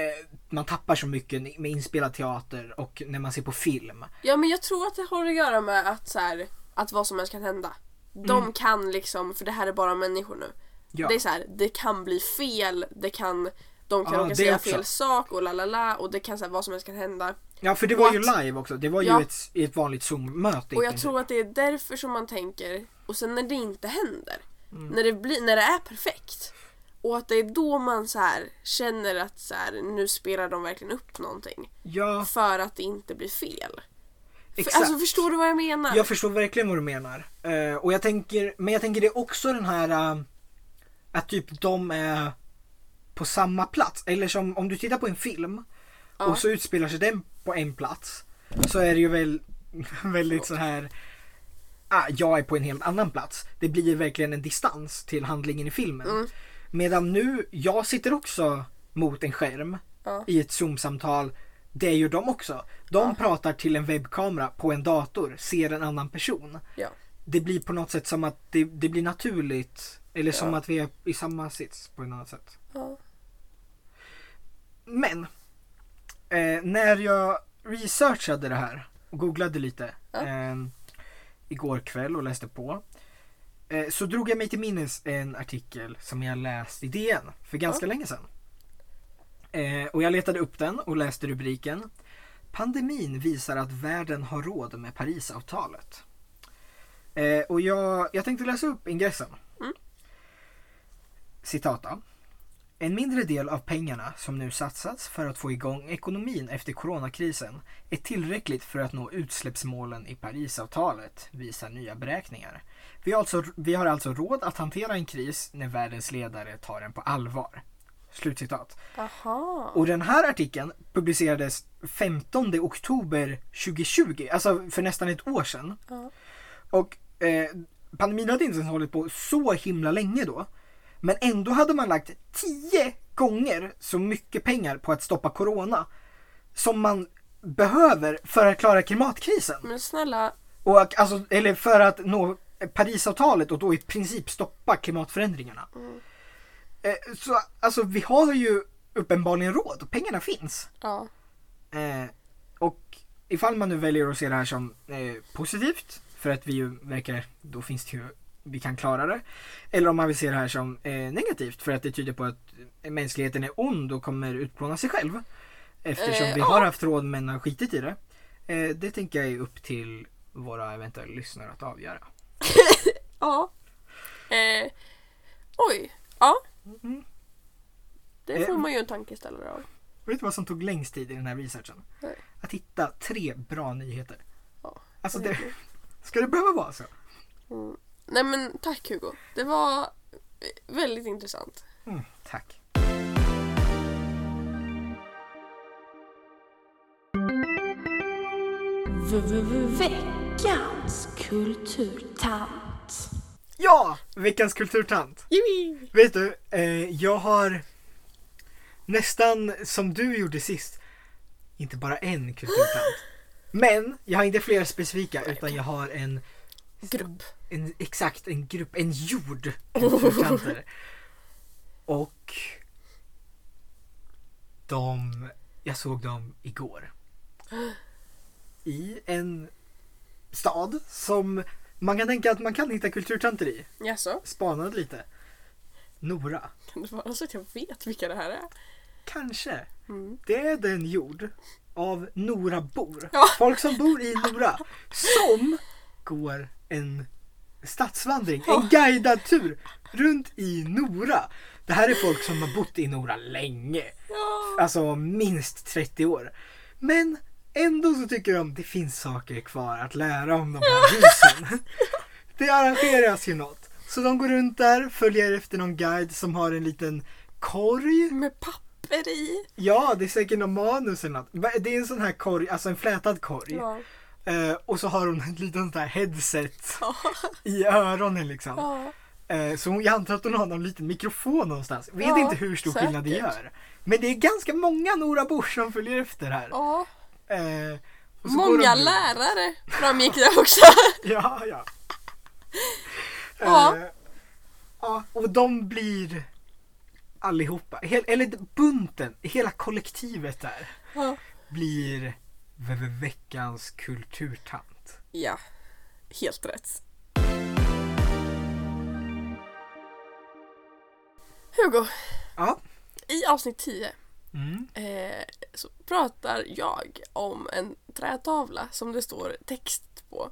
A: man tappar så mycket med inspelad teater och när man ser på film.
B: Ja, men jag tror att det har att göra med att, så här, att vad som helst kan hända. De kan liksom, för det här är bara människor nu.
A: Mm. Ja.
B: Det är så här, det kan bli fel, det kan, de kan
A: Ja, det
B: råka säga
A: också.
B: fel sak och la la la och det kan så här, vad som helst kan hända.
A: Ja för det var ju
B: What?
A: live också. Det var ju
B: Ja.
A: ett, i ett vanligt zoom-möte. i
B: Och jag
A: princip.
B: tror att det är därför som man tänker, och sen när det inte händer,
A: Mm.
B: när, det blir, när det är perfekt. Och att det är då man så här, känner att så här, nu spelar de verkligen upp någonting.
A: Ja,
B: För att det inte blir fel. För,
A: exakt.
B: alltså förstår du vad jag menar?
A: Jag förstår verkligen vad du menar. Eh, och jag tänker, men jag tänker det är också den här eh, att typ de är på samma plats. Eller som om du tittar på en film
B: Ja.
A: och så utspelar sig den på en plats. Så är det ju väl väldigt så här ah, jag är på en helt annan plats. Det blir verkligen en distans till handlingen i filmen.
B: Mm.
A: Medan nu, jag sitter också mot en skärm
B: Ja.
A: i ett zoom-samtal Det gör de också. De pratar till en webbkamera på en dator, ser en annan person.
B: Ja.
A: Det blir på något sätt som att det, det blir naturligt. Eller som
B: Ja.
A: att vi är i samma sits på ett annat sätt.
B: Ja.
A: Men eh, när jag researchade det här och googlade lite
B: Ja.
A: eh, igår kväll och läste på. Eh, så drog jag mig till minnes en artikel som jag läst i DN för ganska länge sedan. Eh, och jag letade upp den och läste rubriken. Pandemin visar att världen har råd med Parisavtalet. Eh, och jag, jag tänkte läsa upp ingressen.
B: Mm.
A: Citata. En mindre del av pengarna som nu satsats för att få igång ekonomin efter coronakrisen är tillräckligt för att nå utsläppsmålen i Parisavtalet, visar nya beräkningar. Vi har alltså, vi har alltså råd att hantera en kris när världens ledare tar den på allvar. Slutcitat.
B: Aha.
A: Och den här artikeln publicerades 15 oktober 2020, alltså för nästan ett år sedan.
B: Ja.
A: Och eh, pandemin hade inte ens hållit på så himla länge då. Men ändå hade man lagt 10 gånger så mycket pengar på att stoppa corona som man behöver för att klara klimatkrisen.
B: Men snälla,
A: Och, att- alltså, eller för att nå Parisavtalet och då i princip stoppa klimatförändringarna. Eh, så alltså vi har ju uppenbarligen råd och pengarna finns.
B: ja.
A: Eh, och ifall man nu väljer att se det här som eh, positivt, för att vi ju verkar, då finns det ju, vi kan klara det. Eller om man vill se det här som eh, negativt, för att det tyder på att eh, mänskligheten är ond och kommer utplåna sig själv. Eftersom
B: Eh,
A: vi
B: ja.
A: har haft råd men har skitit i det. Eh, det tänker jag är upp till våra eventuella lyssnare att avgöra.
B: Ja. Eh, oj. Ja. Det får
A: Mm-hmm. Eh.
B: man ju en tankeställare av.
A: Vet du vad som tog längst tid i den här researchen?
B: Nej.
A: Att hitta tre bra nyheter.
B: Ja.
A: Alltså det, ska det behöva vara alltså? så?
B: Mm. Nej men tack Hugo. Det var eh, väldigt intressant.
A: Mm, tack.
E: Veckans kulturtant.
A: Ja! Veckans kulturtant.
B: Jimmy!
A: Vet du, eh, jag har nästan som du gjorde sist, inte bara en kulturtant. Men jag har inte flera specifika utan jag har en,
B: Grupp.
A: en exakt en grupp, en jord kulturtanter. Och de, jag såg dem igår. I en stad som man kan tänka att man kan hitta kulturtanter i.
B: Jaså?
A: Spanade lite. Nora.
B: Kan det vara så att jag vet vilka det här är?
A: Kanske.
B: Mm.
A: Det är den jord av Norabor.
B: Ja.
A: Folk som bor i Nora. Som går en stadsvandring, en guidad tur runt i Nora. Det här är folk som har bott i Nora länge.
B: Ja.
A: Alltså minst 30 år. Men ändå så tycker de det finns saker kvar att lära om de här husen. Det arrangeras ju något. Så de går runt där, följer efter någon guide som har en liten korg
B: Med papper i.
A: Ja, det är säkert någon manus eller något. Va- Det är en sån här korg, alltså en flätad korg.
B: Ja.
A: Eh, och så har hon en liten sån här headset
B: Ja.
A: i öronen liksom.
B: Ja.
A: Eh, så hon, jag antar att hon har någon liten mikrofon någonstans. Vet
B: Ja,
A: inte hur stor skillnad det
B: säkert.
A: gör. Men det är ganska många Norabor som följer efter här.
B: ja.
A: Eh, och så går
B: Många
A: de-
B: lärare framgick det också.
A: Ja, ja.
B: Ja.
A: Eh, ja, och de blir allihopa, hel, eller bunten, hela kollektivet där.
B: Ja.
A: blir ve- ve- veckans kulturtant.
B: ja. Helt rätt. Hugo,
A: Ja.
B: i avsnitt 10
A: Mm.
B: eh, så pratar jag om en trätavla som det står text på.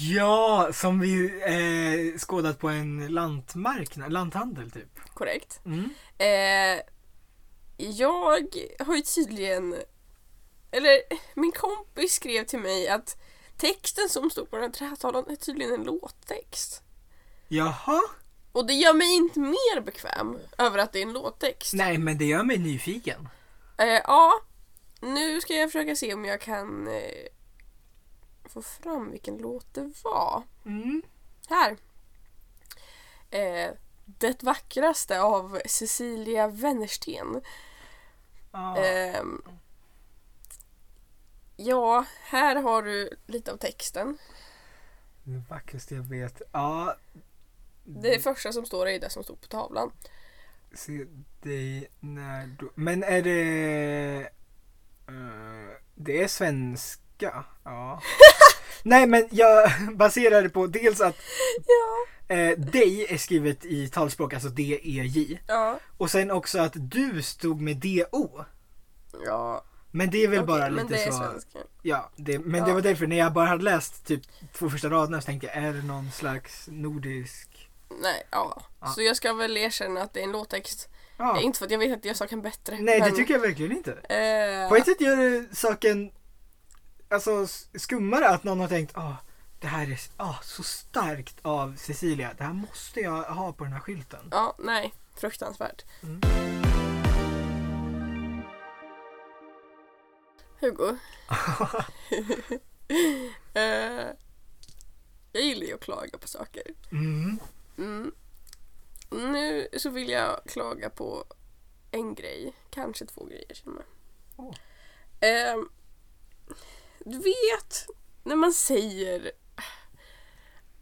A: Ja, som vi eh, skådat på en lantmarknad, lanthandel typ.
B: Korrekt.
A: Mm.
B: Eh, jag har ju tydligen... Eller min kompis skrev till mig att texten som stod på den här trätavlan är tydligen en låttext.
A: Jaha?
B: Och det gör mig inte mer bekväm över att det är en låttext.
A: Nej, men det gör mig nyfiken.
B: Eh, ja, nu ska jag försöka se om jag kan eh, få fram vilken låt det var.
A: Mm.
B: Här. Eh, det vackraste av Cecilia Wennersten.
A: Ja.
B: Ehm, Ja, här har du lite av texten.
A: Det vackraste jag vet. Ja. Mm.
B: Det första som står är det som stod på tavlan.
A: Se dig när du... Men är det... eh, det är svenska? Ja. Nej men jag baserar det på dels att
B: Ja.
A: eh, dig är skrivet i talspråk, alltså D-E-J.
B: Ja.
A: Och sen också att du stod med D-O.
B: ja.
A: Men det är väl
B: okej,
A: bara lite
B: men det är
A: så...
B: svenska.
A: Ja, det, men det
B: Ja.
A: var därför när jag bara hade läst typ två första raderna så tänkte jag, är det någon slags nordisk...
B: Nej, ja.
A: Ja.
B: Så jag ska väl erkänna att det är en låttext.
A: Ja.
B: Inte för att jag vet att jag saken bättre.
A: Nej, det
B: men,
A: tycker jag verkligen inte.
B: jag.
A: På ett sätt gör det saken alltså, s- skummare att någon har tänkt ah det här är ah, så starkt av Cecilia. Det här måste jag ha på den här skylten.
B: Ja, nej. Fruktansvärt.
A: Mm.
B: Hugo. eh, jag gillar ju att klaga på saker.
A: Mm.
B: Mm. Nu så vill jag klaga på en grej, kanske två grejer känner jag.
A: Åh.
B: Ehm, du vet när man säger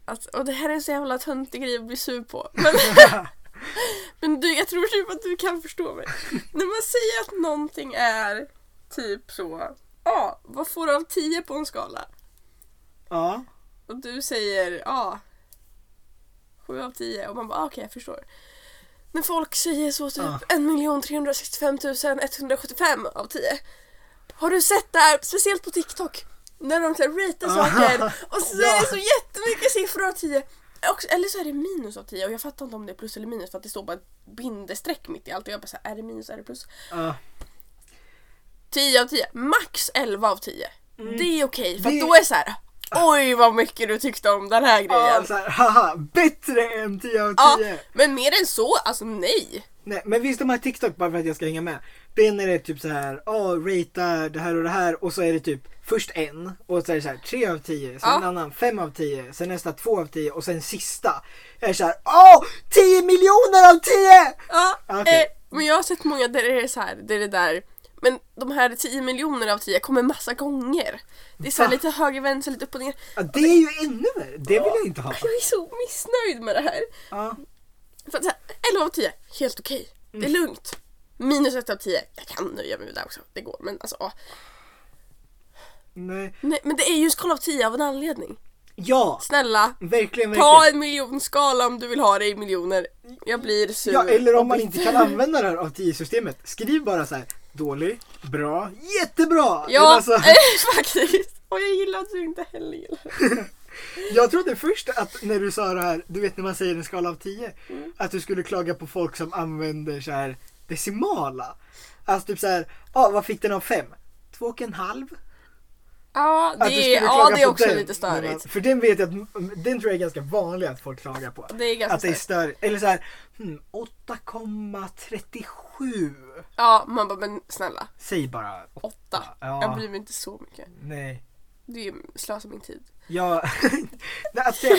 B: att och det här är en så jävla töntig grej att bli sur på. Men, men du, jag tror typ att du kan förstå mig. när man säger att någonting är typ så, ja, vad får du av 10 på en skala?
A: Ja.
B: Och du säger ja. sju av tio och man bara ah, okej jag förstår. När folk säger så typ
A: Ja.
B: 1 365 175 av 10. Har du sett det här, speciellt på TikTok? När de så här ratear
A: Ja.
B: saker och så är
A: Ja.
B: det så jättemycket siffror av 10. Också- Eller så är det minus av 10 och jag fattar inte om det är plus eller minus för att det står bara ett bindestreck mitt i allt och jag bara så här, är det minus, är det plus?
A: ja.
B: 10 av 10, max 11 av 10. Det är okej för
A: Det-
B: att då är det så här. Oj vad mycket du tyckte om den här grejen.
A: Ja, så här, haha, bättre än 10 av
B: Ja,
A: 10.
B: men mer än så, alltså nej.
A: Nej, men visst de här TikTok bara för att jag ska hänga med. Den är det typ så här, ja, ratea det här och det här och så är det typ först en och så är det så här 3 av 10, sen
B: Ja.
A: en annan 5 av 10, sen nästa 2 av 10 och sen sista är det så här, åh, 10 miljoner av 10!
B: Ja,
A: Okej.
B: eh, men jag har sett många där det är så här, där det där, men de här 10 miljoner av 10 kommer massa gånger. Det är så här
A: Va?
B: lite höger, vänster, lite upp och ner.
A: Ja, det är ju ännu värre, det vill jag inte ha.
B: Jag är så missnöjd med det här.
A: Ja,
B: För att så här, 11 av 10, helt okej. Det
A: Mm.
B: är lugnt. Minus 1 av 10, jag kan nöja mig med det också. Det går, men alltså ja.
A: nej.
B: Nej, men det är ju en skala av 10 av en anledning.
A: ja
B: Snälla,
A: verkligen,
B: ta
A: Mm, verkligen.
B: en miljonskala om du vill ha det i miljoner. Jag blir sur.
A: Ja, eller
B: och
A: om man inte
B: bitter.
A: kan använda det här av 10-systemet, skriv bara så här, dålig, bra, jättebra!
B: Ja,
A: Alltså-
B: faktiskt. Och jag gillar att du inte heller gillar det.
A: Jag trodde först att när du sa det här, du vet när man säger en skala av 10, att du skulle klaga på folk som använder så här decimala. Alltså typ så här, ja vad fick den av 5? Två och en halv?
B: Ja,
A: Att du
B: det
A: skulle
B: är, ja,
A: klaga
B: det är
A: på
B: också
A: den,
B: lite
A: när man-
B: störigt.
A: För den vet jag att, mm, den tror jag är ganska vanlig att folk klagar på.
B: Det är ganska
A: Att det är
B: störigt.
A: störigt. Eller så här, hmm, 8,37.
B: Ja, man bara men snälla,
A: Säg bara
B: åtta.
A: Ja.
B: Jag bryr mig inte så mycket.
A: Nej.
B: Det är ju slösa min tid.
A: Jag, Nej, att säga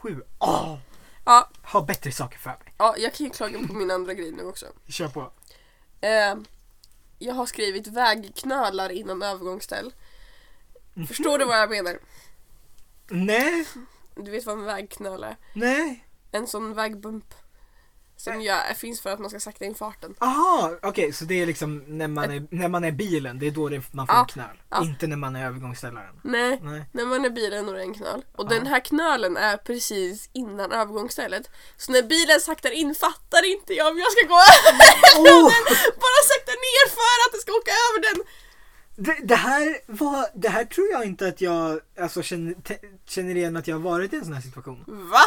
A: 37, åh!
B: Ja,
A: Ha bättre saker för mig.
B: ja, jag kan ju klaga på min andra grej nu också.
A: Kör på.
B: Eh, jag har skrivit vägknölar innan övergångsställ. Förstår du vad jag menar?
A: Nej,
B: Du vet vad en vägknöl är?
A: nej.
B: En sån vägbump. Som gör, finns för att man ska sakta in farten.
A: Aha, okej så det är liksom när man är, när man är i bilen, det är då det, man får
B: Ja,
A: en knöl.
B: ja.
A: Inte när man är övergångsställaren.
B: Nej.
A: Nej.
B: När man är i bilen och det är en knöl. Och den här knölen är precis innan övergångsstället. Så när bilen saktar in fattar inte jag om jag ska gå över.
A: Oh,
B: Bara sakta ner för att det ska åka över den.
A: det, det, här var, det här tror jag inte att jag alltså, känner, te- känner igen att jag har varit i en sån här situation.
B: Va?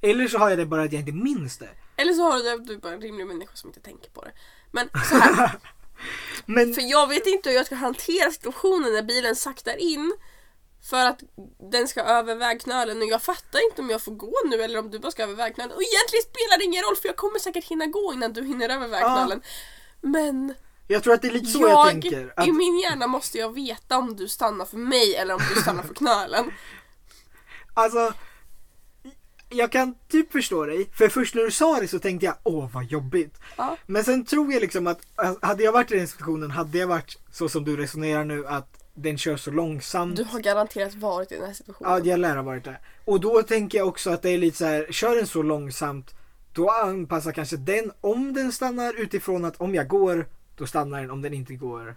A: Eller så har jag det bara att jag inte minns det.
B: Eller så har du- du är bara en rimlig människa som inte tänker på det. Men så här,
A: Men
B: för jag vet inte hur jag ska hantera situationen när bilen saktar in. För att den ska över vägknölen och jag fattar inte om jag får gå nu eller om du bara ska över vägknölen. Och egentligen spelar det ingen roll för jag kommer säkert hinna gå innan du hinner över vägknölen. Men
A: jag tror att det är lite så jag,
B: jag,
A: tänker. Att,
B: I min hjärna måste jag veta om du stannar för mig eller om du stannar för knölen.
A: Alltså, jag kan typ förstå dig. För först när du sa det så tänkte jag, åh vad jobbigt.
B: Ja.
A: Men sen tror jag liksom att, hade jag varit i den situationen, hade jag varit så som du resonerar nu att den kör så långsamt.
B: Du har garanterat varit i den här situationen.
A: Ja, jag lär ha varit där. Och då tänker jag också att det är lite så här, kör den så långsamt, då anpassar kanske den om den stannar utifrån att om jag går, då stannar den. Om den inte går,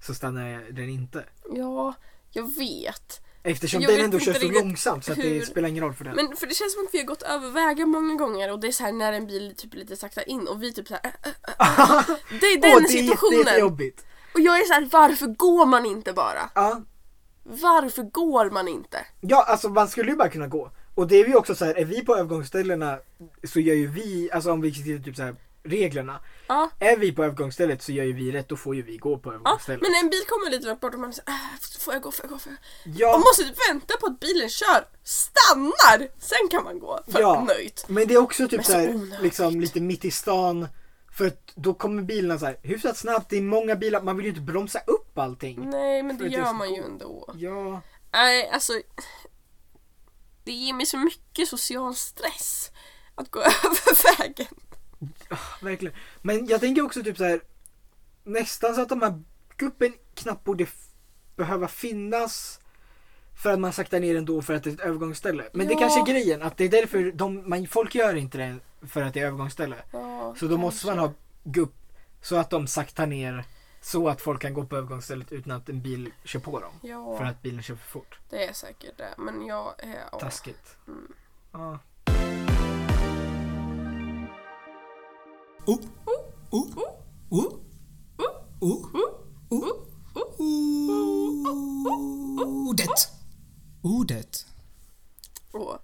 A: så stannar den inte.
B: Ja, jag vet.
A: Eftersom
B: Jag
A: den
B: vet
A: ändå
B: inte
A: kör så
B: riktigt
A: långsamt så att
B: hur-
A: det spelar ingen roll för den.
B: Men för det känns som att vi har gått över vägar många gånger och det är så här när en bil typ lite saktar in och vi typ så här. äh, äh, äh. Det är den
A: Åh, det är jätte-
B: situationen.
A: jättejobbigt.
B: och jag är så här, varför går man inte bara?
A: Ja.
B: Varför går man inte?
A: ja, alltså man skulle ju bara kunna gå. Och det är ju också så här, är vi på övergångsställena så gör ju vi, alltså om vi skriver typ så här reglerna.
B: Ja.
A: Är vi på övergångsstället så gör ju vi rätt, då får ju vi gå på
B: Ja,
A: övergångsstället.
B: men en bil kommer lite långt bort och man är så här, äh, får jag gå, får jag gå, får jag gå?
A: ja.
B: Man måste typ vänta på att bilen kör, stannar, sen kan man gå för
A: Ja.
B: nöjt.
A: Men det är också typ
B: Men så
A: såhär,
B: onödigt.
A: liksom lite mitt i stan. För att då kommer bilarna såhär hyfsat snabbt, det är många bilar, man vill ju inte bromsa upp allting.
B: Nej men
A: För
B: det
A: att det är
B: gör
A: så
B: man ju
A: coolt.
B: ändå.
A: Ja,
B: Nej alltså, det ger mig så mycket social stress att gå över vägen.
A: verkligen. Men jag tänker också typ såhär, nästan så att de här kuppen knappt borde f- behöva finnas. För att man saktar ner ändå för att det är ett övergångsställe. Men det
B: Ja.
A: kanske är grejen, att det är därför de, man, folk gör inte det för att det är övergångsställe.
B: Ja,
A: Så då måste man ha gupp så att de saktar ner så att folk kan gå på övergångsstället utan att en bil kör på dem. För
B: Ja,
A: att bilen kör för fort.
B: det är säkert det. Men jag är... Ja.
A: Taskigt.
B: Mm.
A: Ja.
F: Oh. Oh. Ordet. Ordet.
B: Och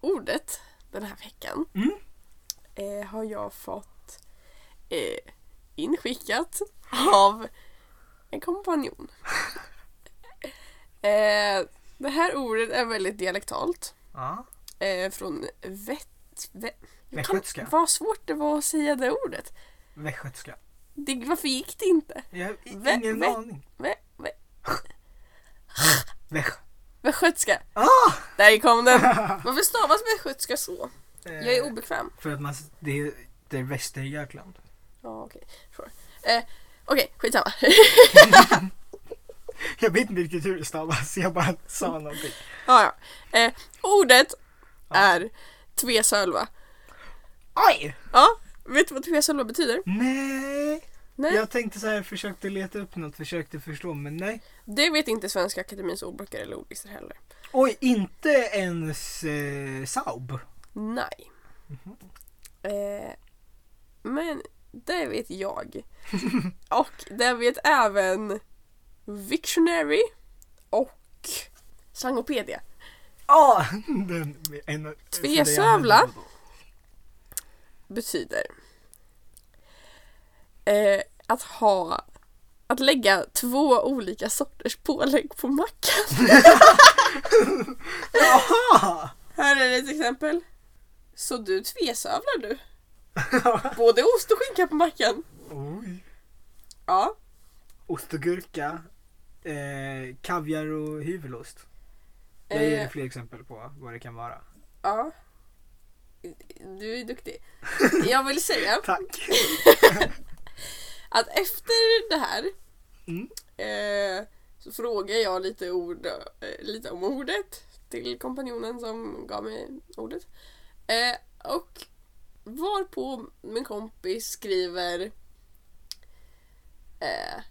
B: ordet den här veckan
A: Mm.
B: eh, har jag fått eh, inskickat av en kompanjon. eh, det här ordet är väldigt dialektalt.
A: Ja.
B: Eh, från vett... Vä, jag kan-
A: Västgötska.
B: Vad svårt det var att säga det ordet.
A: Västgötska.
B: Det, varför gick det inte?
A: Jag har i-
B: Vä-
A: ingen
B: vä-
A: aning.
B: Vä, vä,
A: Västgö-
B: västgötska.
A: Ah!
B: Där kom den! Varför stavas västgötska så? Jag är
A: Eh,
B: obekväm.
A: För att man, s- det är, det är Västergötland.
B: Ja, okej. Sure. Eh, okej, skitsamma.
A: Jag vet inte riktigt hur det stavas, jag bara sa någonting.
B: ja, ja. Eh, ordet är tvesölva.
A: Oj!
B: Ja, vet du vad tvesölva betyder?
A: Nej!
B: Nej,
A: Jag tänkte så här, försökte leta upp något, försökte förstå, men nej.
B: det vet inte Svenska Akademins ordböcker eller ordlistor heller.
A: Oj, inte ens eh, Saab.
B: Nej. Eh, men det vet jag. och det vet även Victionary och Slangopedia.
A: Ah! Den, en, en-
B: Tvesövla.
A: som det jag använder då och då.
B: betyder eh, att ha att lägga två olika sorters pålägg på mackan.
A: Jaha!
B: Här är ett exempel. Så du tvesövlar du? Både ost och skinka på mackan?
A: Oj.
B: Ja.
A: Ost och gurka. Eh, kaviar och hyvelost. Jag ger dig
B: Eh,
A: fler exempel på vad det kan vara.
B: ja. Du är duktig. Jag vill säga
A: Tack!
B: att efter det här
A: Mm.
B: eh, så frågar jag lite, ord, eh, lite om ordet till kompanjonen som gav mig ordet. Eh, och varpå min kompis skriver eh,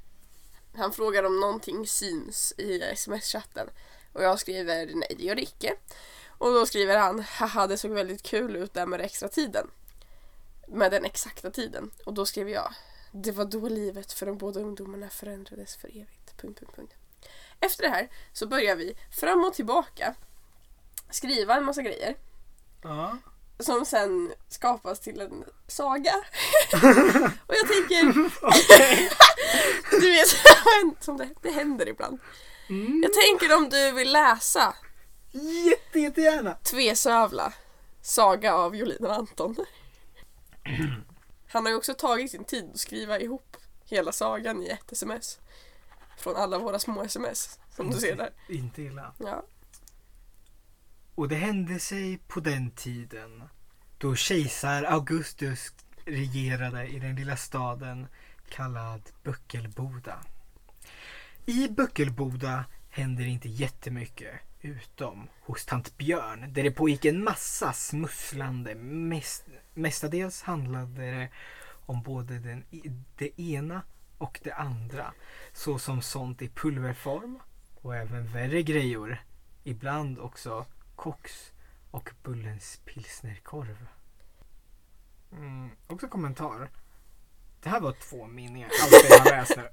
B: han frågar om någonting syns i sms-chatten och jag skriver nej det gör det icke. Och då skriver han haha det såg väldigt kul ut där med den extra tiden. Med den exakta tiden. Och då skrev jag det var då livet för de båda ungdomarna förändrades för evigt. Punkt, punkt, punkt. Efter det här så börjar vi fram och tillbaka skriva en massa grejer
A: Ja.
B: som sen skapas till en saga. och jag tänker, du vet som det, det händer ibland. Jag tänker om du vill läsa
A: Mm. Jätte, jättegärna!
B: Tvesövla, saga av Jolin och Anton. Han har ju också tagit sin tid att skriva ihop hela sagan i ett sms. Från alla våra små sms som du ser där.
A: Inte illa.
B: Ja.
A: Och det hände sig på den tiden då kejsar Augustus regerade i den lilla staden kallad Böckelboda. I Böckelboda händer inte jättemycket utom hos tant Björn där det pågick en massa smusslande. Mest, mestadels handlade det om både den, i- det ena och det andra såsom sånt i pulverform och även värre grejor. Ibland också koks och Bullens pilsnerkorv. Mm, också kommentar. Det här var två meningar, allt jag har läst nu.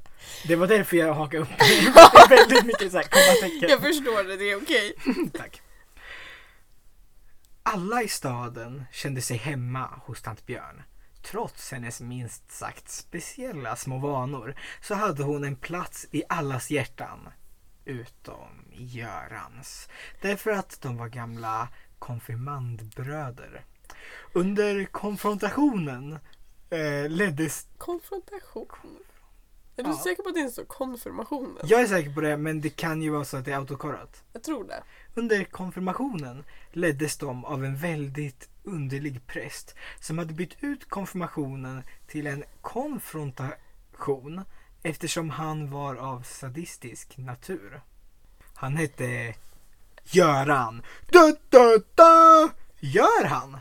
A: Det var därför jag hakade upp mig. Det är väldigt mycket så här kommatecken.
B: Jag förstår det, det är okej.
A: Tack. Alla i staden kände sig hemma hos tant Björn. Trots hennes minst sagt speciella små vanor så hade hon en plats i allas hjärtan. Utom Görans. Därför att de var gamla konfirmandbröder. Under konfrontationen eh, leddes...
B: Konfrontation. Är du
A: Ja.
B: säker på att det inte står konfirmationen?
A: Jag är säker på det men det kan ju vara så att det är autokorrat.
B: Jag tror det.
A: Under konfirmationen leddes de av en väldigt underlig präst som hade bytt ut konfirmationen till en konfrontation eftersom han var av sadistisk natur. Han hette Göran. Da, da, da. Gör han?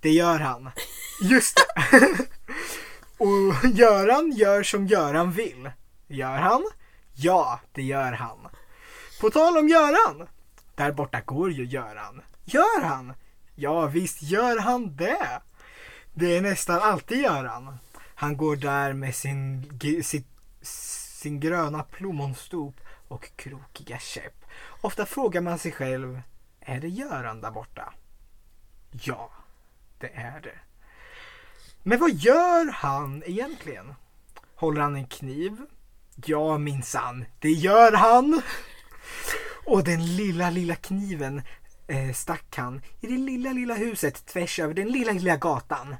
A: Det gör han. Just det. Och Göran gör som Göran vill. Gör han? Ja, det gör han. På tal om Göran. Där borta går ju Göran. Gör han? Ja visst gör han det. Det är nästan alltid Göran. Han går där med sin, gr- sitt, sin gröna plommonstop och krokiga käpp. Ofta frågar man sig själv, är det Göran där borta? Ja, det är det. Men vad gör han egentligen? Håller han en kniv? Ja minsann, det gör han! Och den lilla, lilla kniven eh, stack han i det lilla, lilla huset tvärs över den lilla, lilla gatan.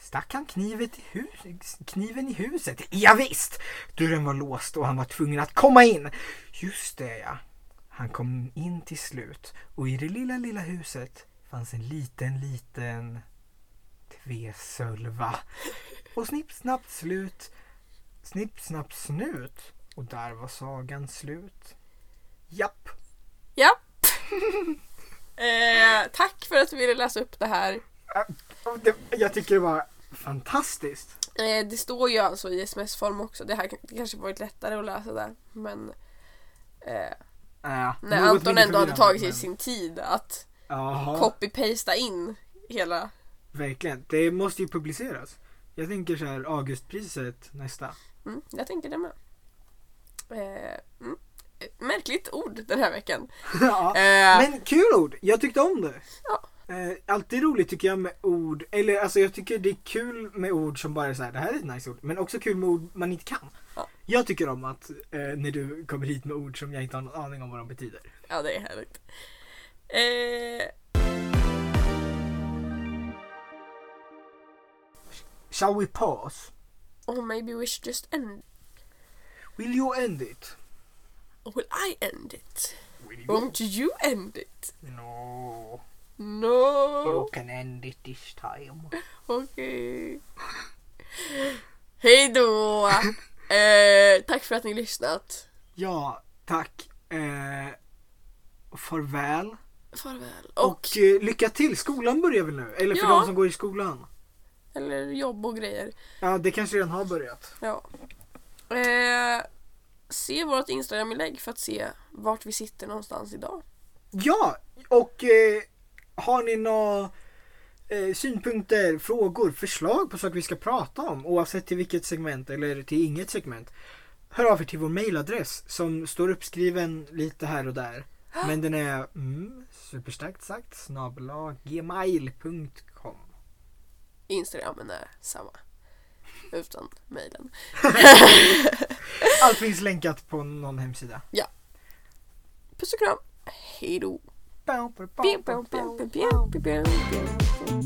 A: Stack han knivet i hus- kniven i huset? Ja, visst! Dörren var låst och han var tvungen att komma in. Just det, ja. Han kom in till slut och i det lilla, lilla huset fanns en liten, liten tvesölva. Och snipp, snabbt slut. Snipp, snabbt snut. Och där var sagan slut. Japp.
B: Ja. eh, tack för att du ville läsa upp det här.
A: Ja, det- Jag tycker det var fantastiskt.
B: Eh, det står ju alltså i sms-form också. Det här kan- det kanske varit lättare att läsa där. Men eh,
A: Äh,
B: när Anton ändå hade tagit sig sin tid att
A: Jaha,
B: copy-pasta in hela...
A: verkligen. Det måste ju publiceras. Jag tänker så här Augustpriset nästa.
B: Mm, jag tänker det med. Eh, mm. Eh, Märkligt ord den här veckan.
A: ja.
B: Eh,
A: Men kul ord! Jag tyckte om det.
B: Ja.
A: Eh, alltid roligt tycker jag med ord, eller alltså jag tycker det är kul med ord som bara är så här, det här är ett nice ord, men också kul med ord man inte kan.
B: Ja.
A: Jag tycker om att eh, när du kommer hit med ord som jag inte har någon aning om vad de betyder.
B: Ja, det är härligt. Eh,
A: Shall we pause?
B: or oh, maybe we should just end...
A: Will you end it?
B: Or will I end it?
A: Will you?
B: Won't you end it?
A: No.
B: No!
A: You can end it this time.
B: Okej. Hej då! eh, tack för att ni lyssnat.
A: Ja, tack. Eh, farväl.
B: Farväl.
A: Och,
B: Och,
A: eh, lycka till! Skolan börjar väl nu? Eller för
B: Ja.
A: de som går i skolan?
B: Eller jobb och grejer.
A: Ja, det kanske redan har börjat.
B: Ja. Eh, se vårt Instagram-inlägg för att se vart vi sitter någonstans idag.
A: Ja, och eh, har ni några eh, synpunkter, frågor, förslag på saker vi ska prata om oavsett till vilket segment eller till inget segment. Hör av er till vår mailadress som står uppskriven lite här och där. Men den är mm, superstarkt sagt snabel-a gmail.com
B: Instagramen är samma. Utan mejlen.
A: Allt finns länkat på någon hemsida.
B: Puss och kram. Hej då.
A: Bow, bow, bow,
B: Pew,
A: bow,
B: pew,
A: bow.
B: pew, pew, pew, pew, pew.